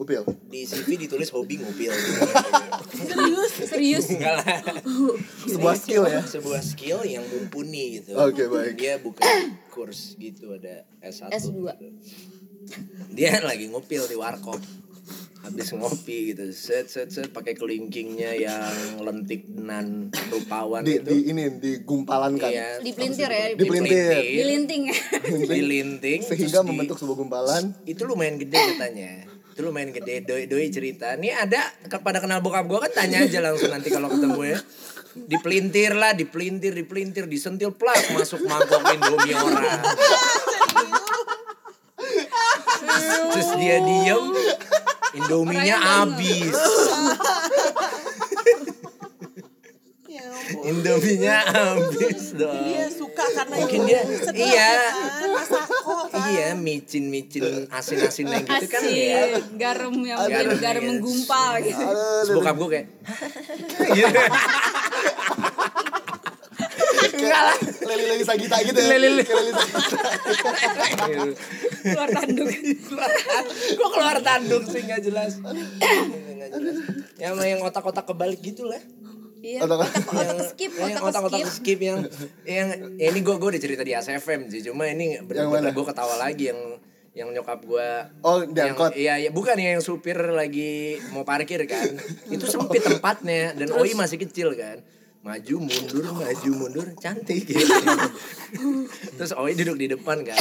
A: Upil.
D: di CV ditulis hobi ngupil. gitu.
A: *laughs*
C: Serius, serius.
D: Enggak lah.
A: Sebuah
D: Iya.
A: skill ya.
D: Sebuah skill yang mumpuni gitu.
A: Oke, baik.
D: Dia bukan kurs gitu ada S1.
C: S2.
D: gitu. Dia lagi ngupil di warkop. Habis ngopi gitu. Set set set pakai kelingkingnya yang lentik nan rupawan
A: Di,
D: itu.
A: di kan. ini digumpalankan.
D: Iya.
C: Dipelintir ya,
A: Dipelintir.
C: dilinting. *laughs*
D: dilinting
A: Sehingga
D: terus di-
A: membentuk sebuah gumpalan.
D: itu lumayan gede katanya itu lumayan gede doi doi cerita nih ada kepada kenal bokap gue kan tanya aja langsung nanti kalau ketemu ya dipelintir lah dipelintir dipelintir disentil plak masuk mangkok indomie orang terus dia diem indominya habis
E: Ya ampun.
D: indominya habis
E: Dia
D: dong
E: suka karena
D: Mungkin
E: itu
D: dia-
E: sedap,
D: iya.
E: kan? Masako kan.
D: iya micin micin asin asin yang gitu kan ya
C: Asyik, garam yang bikin
D: Garam,
C: garam
D: iya.
C: menggumpal gitu.
A: Aduh,
D: Terus bokap gue kayak gitu. *laughs* Enggak lah
A: Leli-leli sagita gitu ya.
D: Leli-leli.
A: Kayak leli Sagita.
C: Keluar tanduk.
D: Gue Gitu. keluar tanduk sih gak jelas Nggak jelas. Yang yang otak-otak kebalik gitu lah
C: Iya,
A: Otak-
C: otak otak
D: Yang-
C: skip,
D: yang
C: otak
D: Iya, otak-otak
C: skip.
D: skip yang yang ya ini gue gue udah cerita di ASFM sih cuma ini
A: mana?
D: bener-bener gue ketawa lagi yang yang nyokap gue
A: Oh, di angkot.
D: iya iya bukan ya yang supir lagi mau parkir kan itu sempit tempatnya dan Oi masih kecil kan maju mundur maju mundur
C: *laughs*
D: cantik gitu. terus Oi duduk di depan kan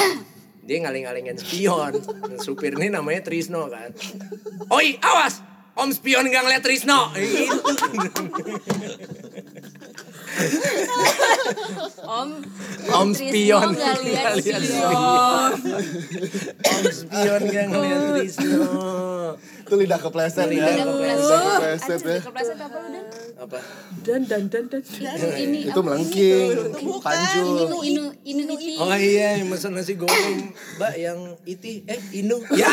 D: dia ngaling-ngalingin spion Dan supir ini namanya Trisno kan Oi awas Om spion gak ngeliat Trisno Gitu.
C: Om
D: Om
C: Trisno
D: spion.
C: nggak lihat
D: Nggak Iya, lihat
C: spion.
D: Om spion gak ngeliat Trisno
A: Itu lidah kepleset ya.
D: Lidah
A: Lidah kepleset ya.
C: Aduh, kepleset apa lu dan?
D: apa
B: Dan dan dan dan.
D: Iya,
C: Ini
A: Itu melengking, panjul.
C: Inu inu inu iti.
D: oh iya yang pesan nasi goreng mbak yang iti eh inu *laughs* ya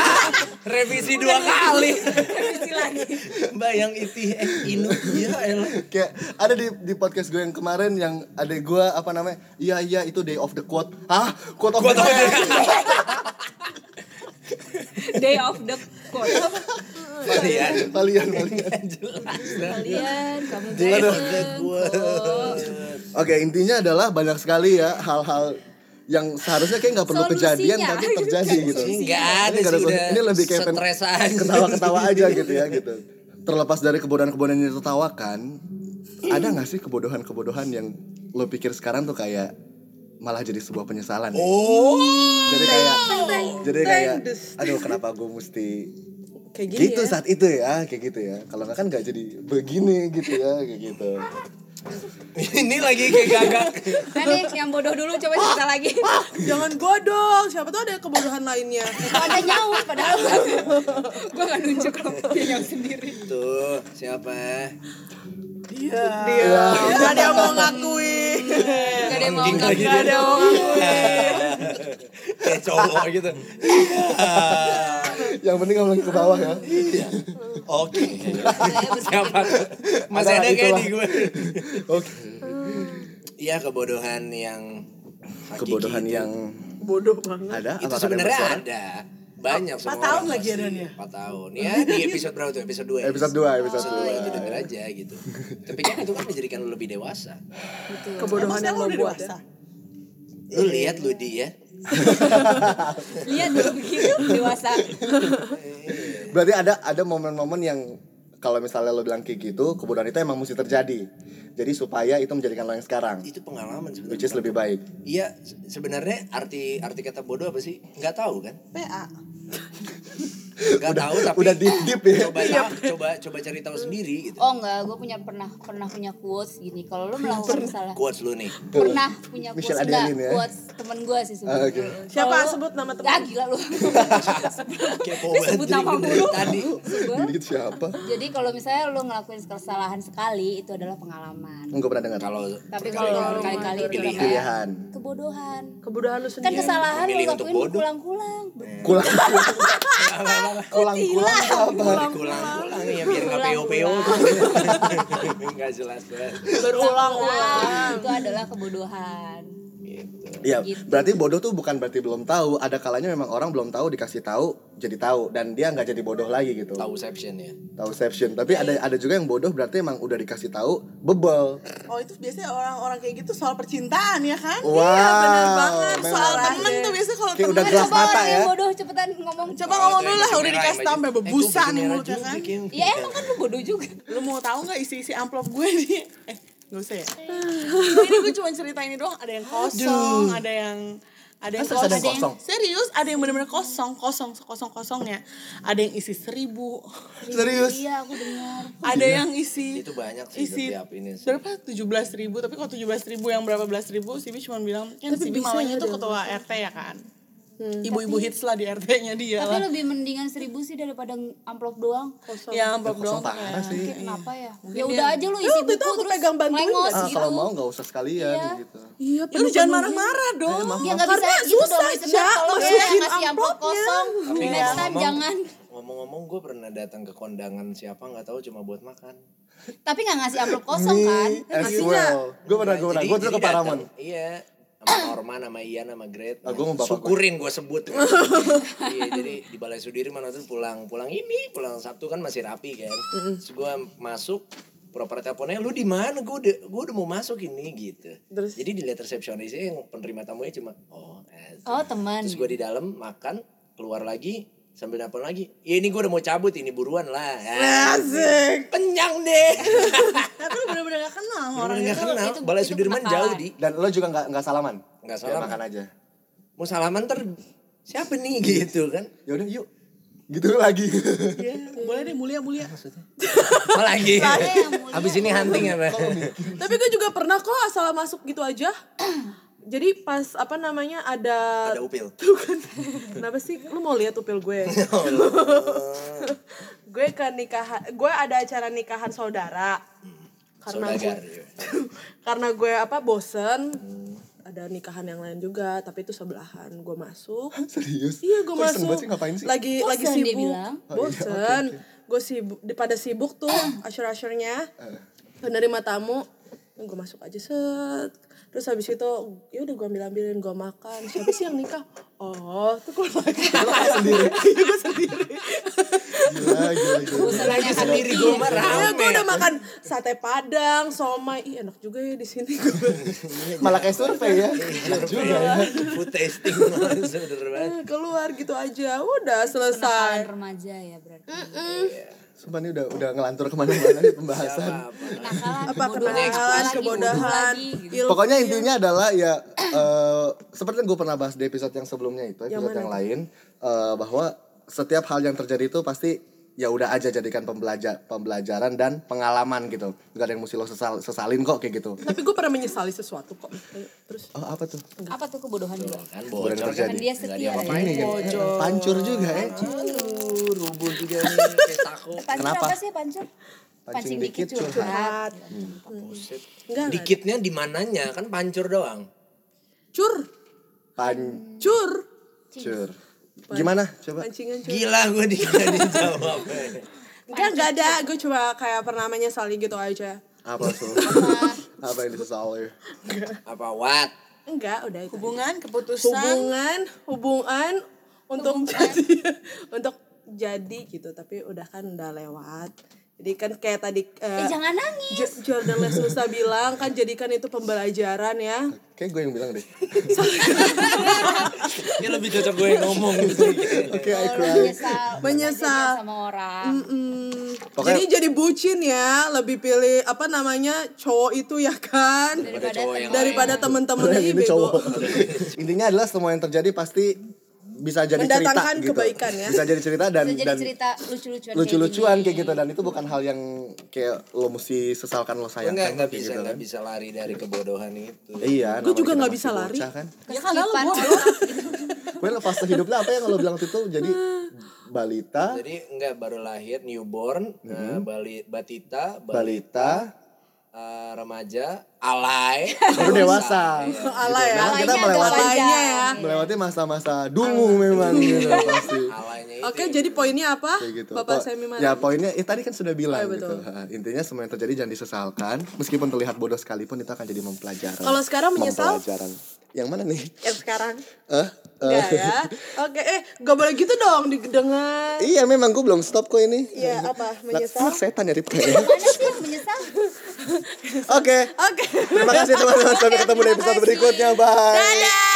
D: revisi dua kali
C: Revisi lagi.
D: mbak yang iti eh inu ya elah
A: Kayak ada di di podcast gue yang kemarin yang ada gue apa namanya? Iya iya itu day of the quote. Hah? Quote of
D: Quote
A: the
D: of
A: day.
C: Day of the court.
D: kalian
A: Kalian kalian.
C: Kalian kamu
D: Day of the
C: bosen,
D: court.
C: kok.
A: Oke intinya adalah banyak sekali ya hal-hal yang seharusnya kayak nggak perlu
C: Solusinya.
A: kejadian
B: *laughs*
A: tapi terjadi gitu.
D: Ini nggak ada
A: Ini nggak
D: sih
A: ada-
D: udah
A: ini lebih kayak pen-
D: stres aja
A: ketawa-ketawa aja
D: *laughs*
A: gitu ya gitu terlepas dari kebodohan-kebodohan yang ditertawakan ada nggak sih kebodohan-kebodohan yang lo pikir sekarang tuh kayak malah jadi sebuah penyesalan ya?
D: oh
A: jadi kayak jadi kayak
B: Thanks.
A: aduh kenapa gue mesti
B: Kayak gini
A: gitu
B: ya.
A: saat itu ya kayak gitu ya kalau nggak kan nggak jadi begini gitu ya kayak gitu
D: ini lagi kayak gagak
C: Nah nih yang bodoh dulu coba cerita lagi.
B: Jangan godong. Siapa tahu ada kebodohan lainnya.
C: Ada nyaut padahal. Gue nggak nunjuk lo dia nyaut sendiri.
D: tuh siapa
B: Dia. Gak ada yang mau ngakui.
D: Iya,
C: Gak ada yang mau
D: Anjing lagi
C: nggak
D: dia.
C: dong.
D: *laughs* kayak cowok gitu
A: yang penting ngomong ke bawah ya
D: Oke.
C: Saya
D: Siapa
C: berpikir
D: tuh? Masih
A: Adalah
D: ada kayak
A: itulah.
D: di gue.
A: Oke.
D: Iya kebodohan yang hakiki
A: Kebodohan
D: itu.
A: yang
B: Bodoh banget.
A: ada
D: gitu. itu
A: apakah ada
D: sebenarnya
A: bersuara?
D: ada banyak semua
E: tahun
D: orang
E: lagi
D: pasti.
E: adanya.
D: Empat tahun ya
E: *laughs*
D: di episode berapa tuh episode 2
A: Episode 2, episode
D: itu
A: 2.
D: denger aja gitu tapi kan itu kan menjadikan lu lebih dewasa
C: betul.
B: Kebodohan
E: Maksudnya
B: yang
E: lo
B: lo
E: udah
B: buat
E: dewasa.
B: ya.
A: Iya.
D: lu lihat lu di ya
C: Lihat dulu begitu Iya, dewasa.
A: Berarti ada ada momen-momen yang kalau misalnya lo bilang kayak gitu, kebodohan itu emang mesti terjadi. Jadi supaya itu menjadikan lo yang sekarang,
D: itu pengalaman
A: which is
D: sebenarnya
A: lebih baik.
D: iya se- sebenarnya arti arti kata bodoh apa sih nggak tahu kan
E: PA.
D: nggak tahu tapi
A: udah deep deep ya.
D: coba
E: Iya,
D: coba coba coba cari tahu sendiri gitu
C: Oh enggak, gue punya pernah pernah punya quotes gini. Kalau lu melakukan salah,
D: quotes lu nih
C: pernah punya quotes
A: Michelle
C: enggak?
A: Adelin ya.
C: Quotes temen gue sih
A: Ah,
C: sebenarnya.
A: Oke.
B: Siapa
C: Kalau-
B: sebut nama temen?
C: Ah gila
A: *laughs*
C: lu.
D: kepo
C: Dia sebut nama
D: dari- dari
C: mulu.
D: tadi
C: Sebut.
A: Dikit siapa?
C: Jadi kalau misalnya lu ngelakuin kesalahan sekali itu adalah pengalaman.
A: Enggak pernah dengar.
D: kalau
C: Tapi kalau berkali-kali itu udah kayak
A: Pilihan.
C: kebodohan.
B: Kebodohan lu
C: Kan
B: sendiri.
C: kesalahan lu
D: memilih untuk
C: lakuin
D: bodoh.
C: kulang-kulang.
A: Kulang kulang kulang apa?
D: kulang-kulang ya biar nggak peo-peo *laughs* nggak jelas-jelas
B: Berulang-ulang.
C: Itu adalah kebodohan.
D: gitu
A: Iya,
C: Gitu.
A: berarti bodoh tuh bukan berarti belum tahu. Ada kalanya memang orang belum tahu dikasih tahu jadi tahu dan dia nggak jadi bodoh lagi gitu.
D: tahu exception ya
A: Tahu exception. Tapi ada ada juga yang bodoh berarti emang udah dikasih tahu bebel.
E: Oh itu biasanya orang-orang kayak gitu soal percintaan ya kan?
A: Wow.
E: Iya bener banget. Soal
A: Memang.
E: temen tuh biasanya kalau
A: Kayak udah
E: temen.
C: Kan
A: gelas
C: coba
A: mata
C: orang yang
A: ya.
C: bodoh cepetan ngomong.
E: Coba ngomong dulu lah
D: Merah
E: udah dikasih
D: aja.
E: tahu sampai
D: Eh, gua
E: berbusa
D: baju
E: nih
D: merah
E: mulutnya
D: juga,
E: kan.
D: Kim.
C: Ya emang kan lu bodoh juga.
E: Lu mau tahu nggak isi-isi amplop gue nih? Eh nggak usah ya. Nah, ini gue cuma cerita ini doang. Ada yang kosong, ada yang ada yang
A: Masa
E: kosong.
A: ada yang kosong?
E: Serius, ada yang benar-benar kosong, kosong, kosong kosongnya. Ada yang isi seribu,
A: Serius?
C: Iya aku dengar.
E: ada yang isi
D: itu banyak sih
E: isi
D: setiap ini sih.
E: berapa tujuh belas ribu tapi kalau tujuh belas ribu yang berapa belas ribu Sibi cuma bilang kan
B: Tapi
E: Sibi
B: bisa
E: mamanya
B: ya dia
E: tuh ketua RT ya kan ibu-ibu hits lah di RT-nya dia
B: Iya,
C: Tapi
B: kan?
E: lah
C: lebih mendingan seribu sih daripada amplop doang.
E: ya amplop
A: Kosong
E: doang
A: parah
E: kayak.
A: sih.
C: Mungkin kenapa ya?
E: Mungkin
C: Ya
E: dia-
C: udah aja lu
B: Ya,
C: isi
B: waktu
C: buku
B: itu aku
C: terus
B: pegang bantuin
C: lengos
A: Ah,
C: gitu.
A: kalau mau nggak usah sekalian
C: Iya.
A: gitu.
B: Iya, Eh,
E: Ya udah jangan marah-marah dong
C: Ya nggak bisa
B: Karena
C: gitu dong
B: susah, Cak,
C: listener
B: gitu.
C: kalau
B: masukin
C: misalnya ngasih amplop
B: amplopnya.
C: kosong. Next time jangan.
D: ngomong-ngomong gue pernah datang ke kondangan siapa nggak tahu cuma buat makan
C: Tapi nggak ngasih amplop kosong kan?
A: as well. Gue pernah, gue pernah.
D: Jadi-
A: Gue tuh nah,
D: jadi
A: ke Paramon.
D: datang, iya sama Orman, sama Ian, sama Gret.
A: Ah, gua mau bapak
D: Syukurin gue
A: *laughs*
D: sebut. iya, jadi di Balai Sudirman waktu itu pulang pulang ini, pulang Sabtu kan masih rapi kan. Terus gue masuk proper teleponnya lu di mana gue udah gue udah mau masuk ini gitu
B: Terus?
D: jadi dilihat resepsionisnya yang penerima tamunya cuma oh asik."
C: Oh teman.
D: Terus gue di dalam makan, keluar lagi sambil nelpon lagi. Ya ini gue udah mau cabut ini buruan lah. Asik. Kenyang deh.
E: tapi lu bener-bener gak kenal sama orang
D: Orang nggak
E: itu
D: kenal.
C: itu-
D: Balai
C: itu
D: Sudirman
C: kenakalan.
D: jauh di.
A: Dan lo juga nggak nggak salaman?
D: Nggak
A: Ya,
D: salaman.
A: makan aja.
D: Mau salaman ter siapa nih *laughs* gitu kan?
A: Ya udah yuk. Gitu lagi.
C: Iya.
E: Ya, boleh deh mulia-mulia
D: Apa lagi?
C: yang
D: *laughs*
C: mulia.
D: Habis ini hunting ya, Pak?
B: Tapi gue juga pernah kok asal masuk gitu aja. Jadi pas apa namanya ada,
D: *laughs* Ada upil.
B: gitu kan. kenapa sih lu mau lihat upil gue? *laughs* gue ke nikahan, gue ada acara nikahan saudara. Karena
D: Saudagar.
B: gue, *laughs* karena gue apa bosen ada nikahan yang lain juga tapi itu sebelahan gue masuk
A: *laughs* Serius?
B: iya gue
A: Kok
B: masuk
A: iseng banget sih, Oh, iya, ngapain sih?
B: lagi
C: Bosen,
B: lagi
C: dia
B: sibuk
C: bilang.
B: bosen gue sibuk pada sibuk tuh asyur-asyurnya
A: Eh.
B: penerima tamu gue masuk aja set terus habis itu ya udah gue ambil ambilin gue makan siapa sih yang nikah oh tuh gue lagi
A: *laughs*
B: *laughs* sendiri gue sendiri
A: Gila, gila, gila.
D: Lagi sendiri gue mah
B: Iya, gue udah
D: rame.
A: ya, kan?
B: makan sate padang, somai, Ih, enak juga ya di sini.
A: Malah kayak survei
C: Iya.
A: ya. Enak juga ya.
D: Iya, Food tasting *laughs* langsung bener banget.
B: Eh, *laughs* keluar gitu aja udah selesai
C: remaja ya berarti.
A: Sumpah ini udah udah ngelantur kemana-mana nih pembahasan.
C: Kenakalan,
B: apa
C: kebodohan,
B: kenakalan
C: lagi,
B: kebodohan
C: lagi, gitu.
B: ilmu
A: Pokoknya intinya adalah ya *clears throat* eh, seperti yang gue pernah bahas di episode yang sebelumnya itu episode yang, lain eh, bahwa setiap hal yang terjadi itu pasti ya udah aja jadikan pembelajar pembelajaran dan pengalaman gitu gak ada yang mesti lo sesal- sesalin kok kayak gitu
B: tapi gue pernah menyesali sesuatu kok Ayo, terus
A: oh apa tuh
C: Apa tuh kebodohan juga?
D: Kan
A: Boleh
D: bocor kan.
A: terjadi. Nah, kan.
C: Kan dia setia ya.
A: pancur juga ya
D: Aduh, rubuh juga nih. Kayak taco.
C: Pancur
A: Kenapa?
C: apa sih pancur? Pancing dikit
A: dikit,
C: curhat.
B: Hmm.
D: Buset.
B: Enggak,
D: Dikitnya di mananya kan pancur doang.
B: cur
A: pancur
B: cur
A: gimana coba
B: pancingan cur
D: Gila gue dikira dijawab.
B: Enggak, enggak ada. Gue cuma kayak pernah menyesali gitu aja.
A: Apa *laughs* so? Apa yang disesali?
D: Apa what?
B: Enggak, udah itu.
E: hubungan keputusan
B: Hubungan, hubungan untuk *laughs* jadi untuk jadi gitu, tapi udah kan udah lewat. Jadi kan kayak tadi eh,
C: Eh, jangan nangis.
B: Jo- Jordan Lesusa bilang kan jadikan itu pembelajaran ya.
A: Kayak gue yang bilang deh.
D: Ini lebih cocok gue yang ngomong gitu
A: Oke, I
C: Kalau
A: cry.
C: menyesal,
B: Menyesal.
C: sama orang.
B: Mm,
A: Pokoknya-
B: Jadi jadi bucin ya, lebih pilih apa namanya cowok itu ya kan
D: Daripada cowok yang
B: daripada temen-temen
A: Padahal
B: ini
A: ini
B: bego.
A: cowok. Iya, *laughs* Intinya adalah semua yang terjadi pasti bisa jadi
B: Mendatangkan
A: cerita gitu.
B: kebaikan ya.
A: Bisa jadi cerita dan
C: Bisa jadi
A: dan
C: cerita lucu-lucuan kayak
A: lucu-lucuan
C: gini.
A: kayak gitu dan itu bukan hal yang kayak lo mesti sesalkan lo sayangkan
D: Enggak, enggak
A: kayak
D: bisa,
A: gitu
D: enggak
A: kan.
D: bisa lari dari kebodohan itu.
A: Iya,
B: Gue juga
A: namanya kita
B: nggak
A: masih
B: bisa lari.
A: bocah Kan.
E: ya kan lalu
C: Keskipan.
E: gua
A: Gue lepas hidupnya apa yang lo bilang itu jadi balita,
D: Jadi enggak baru lahir newborn,
A: Mm-hmm.
D: eh, bali, batita, bali,
A: balita,
D: eh, remaja, alay,
A: baru dewasa.
B: Ala ya.
A: Memang Gitu. Nah, kita
C: Alainya agak
A: melewati
B: Alainya
C: panjang.
B: ya.
A: melewati masa-masa dungu memang gitu pasti.
D: alaynya itu.
B: Oke, jadi poinnya apa?
A: Kayak gitu.
B: Bapak
A: Po-
B: Semi Mara.
A: ya poinnya, ya tadi kan sudah bilang
B: Oh, iya,
A: gitu.
B: betul.
A: Ha, Intinya semua yang terjadi jangan disesalkan, meskipun terlihat bodoh sekalipun itu akan jadi mempelajaran.
B: Kalau sekarang menyesal?
A: Mempelajaran. Yang mana nih?
B: yang sekarang.
A: Eh? Eh,
B: Enggak ya. Oke, eh gak boleh gitu dong didengar.
A: iya memang gue belum stop kok ini.
B: Iya, apa?
A: Lah,
B: Menyesal?
A: anak setan ya Ripka ya. Oke,
C: Mana sih yang menyesal?
B: Oke.
A: terima kasih teman-teman. Sampai ketemu di episode berikutnya. Bye.
B: Dadah.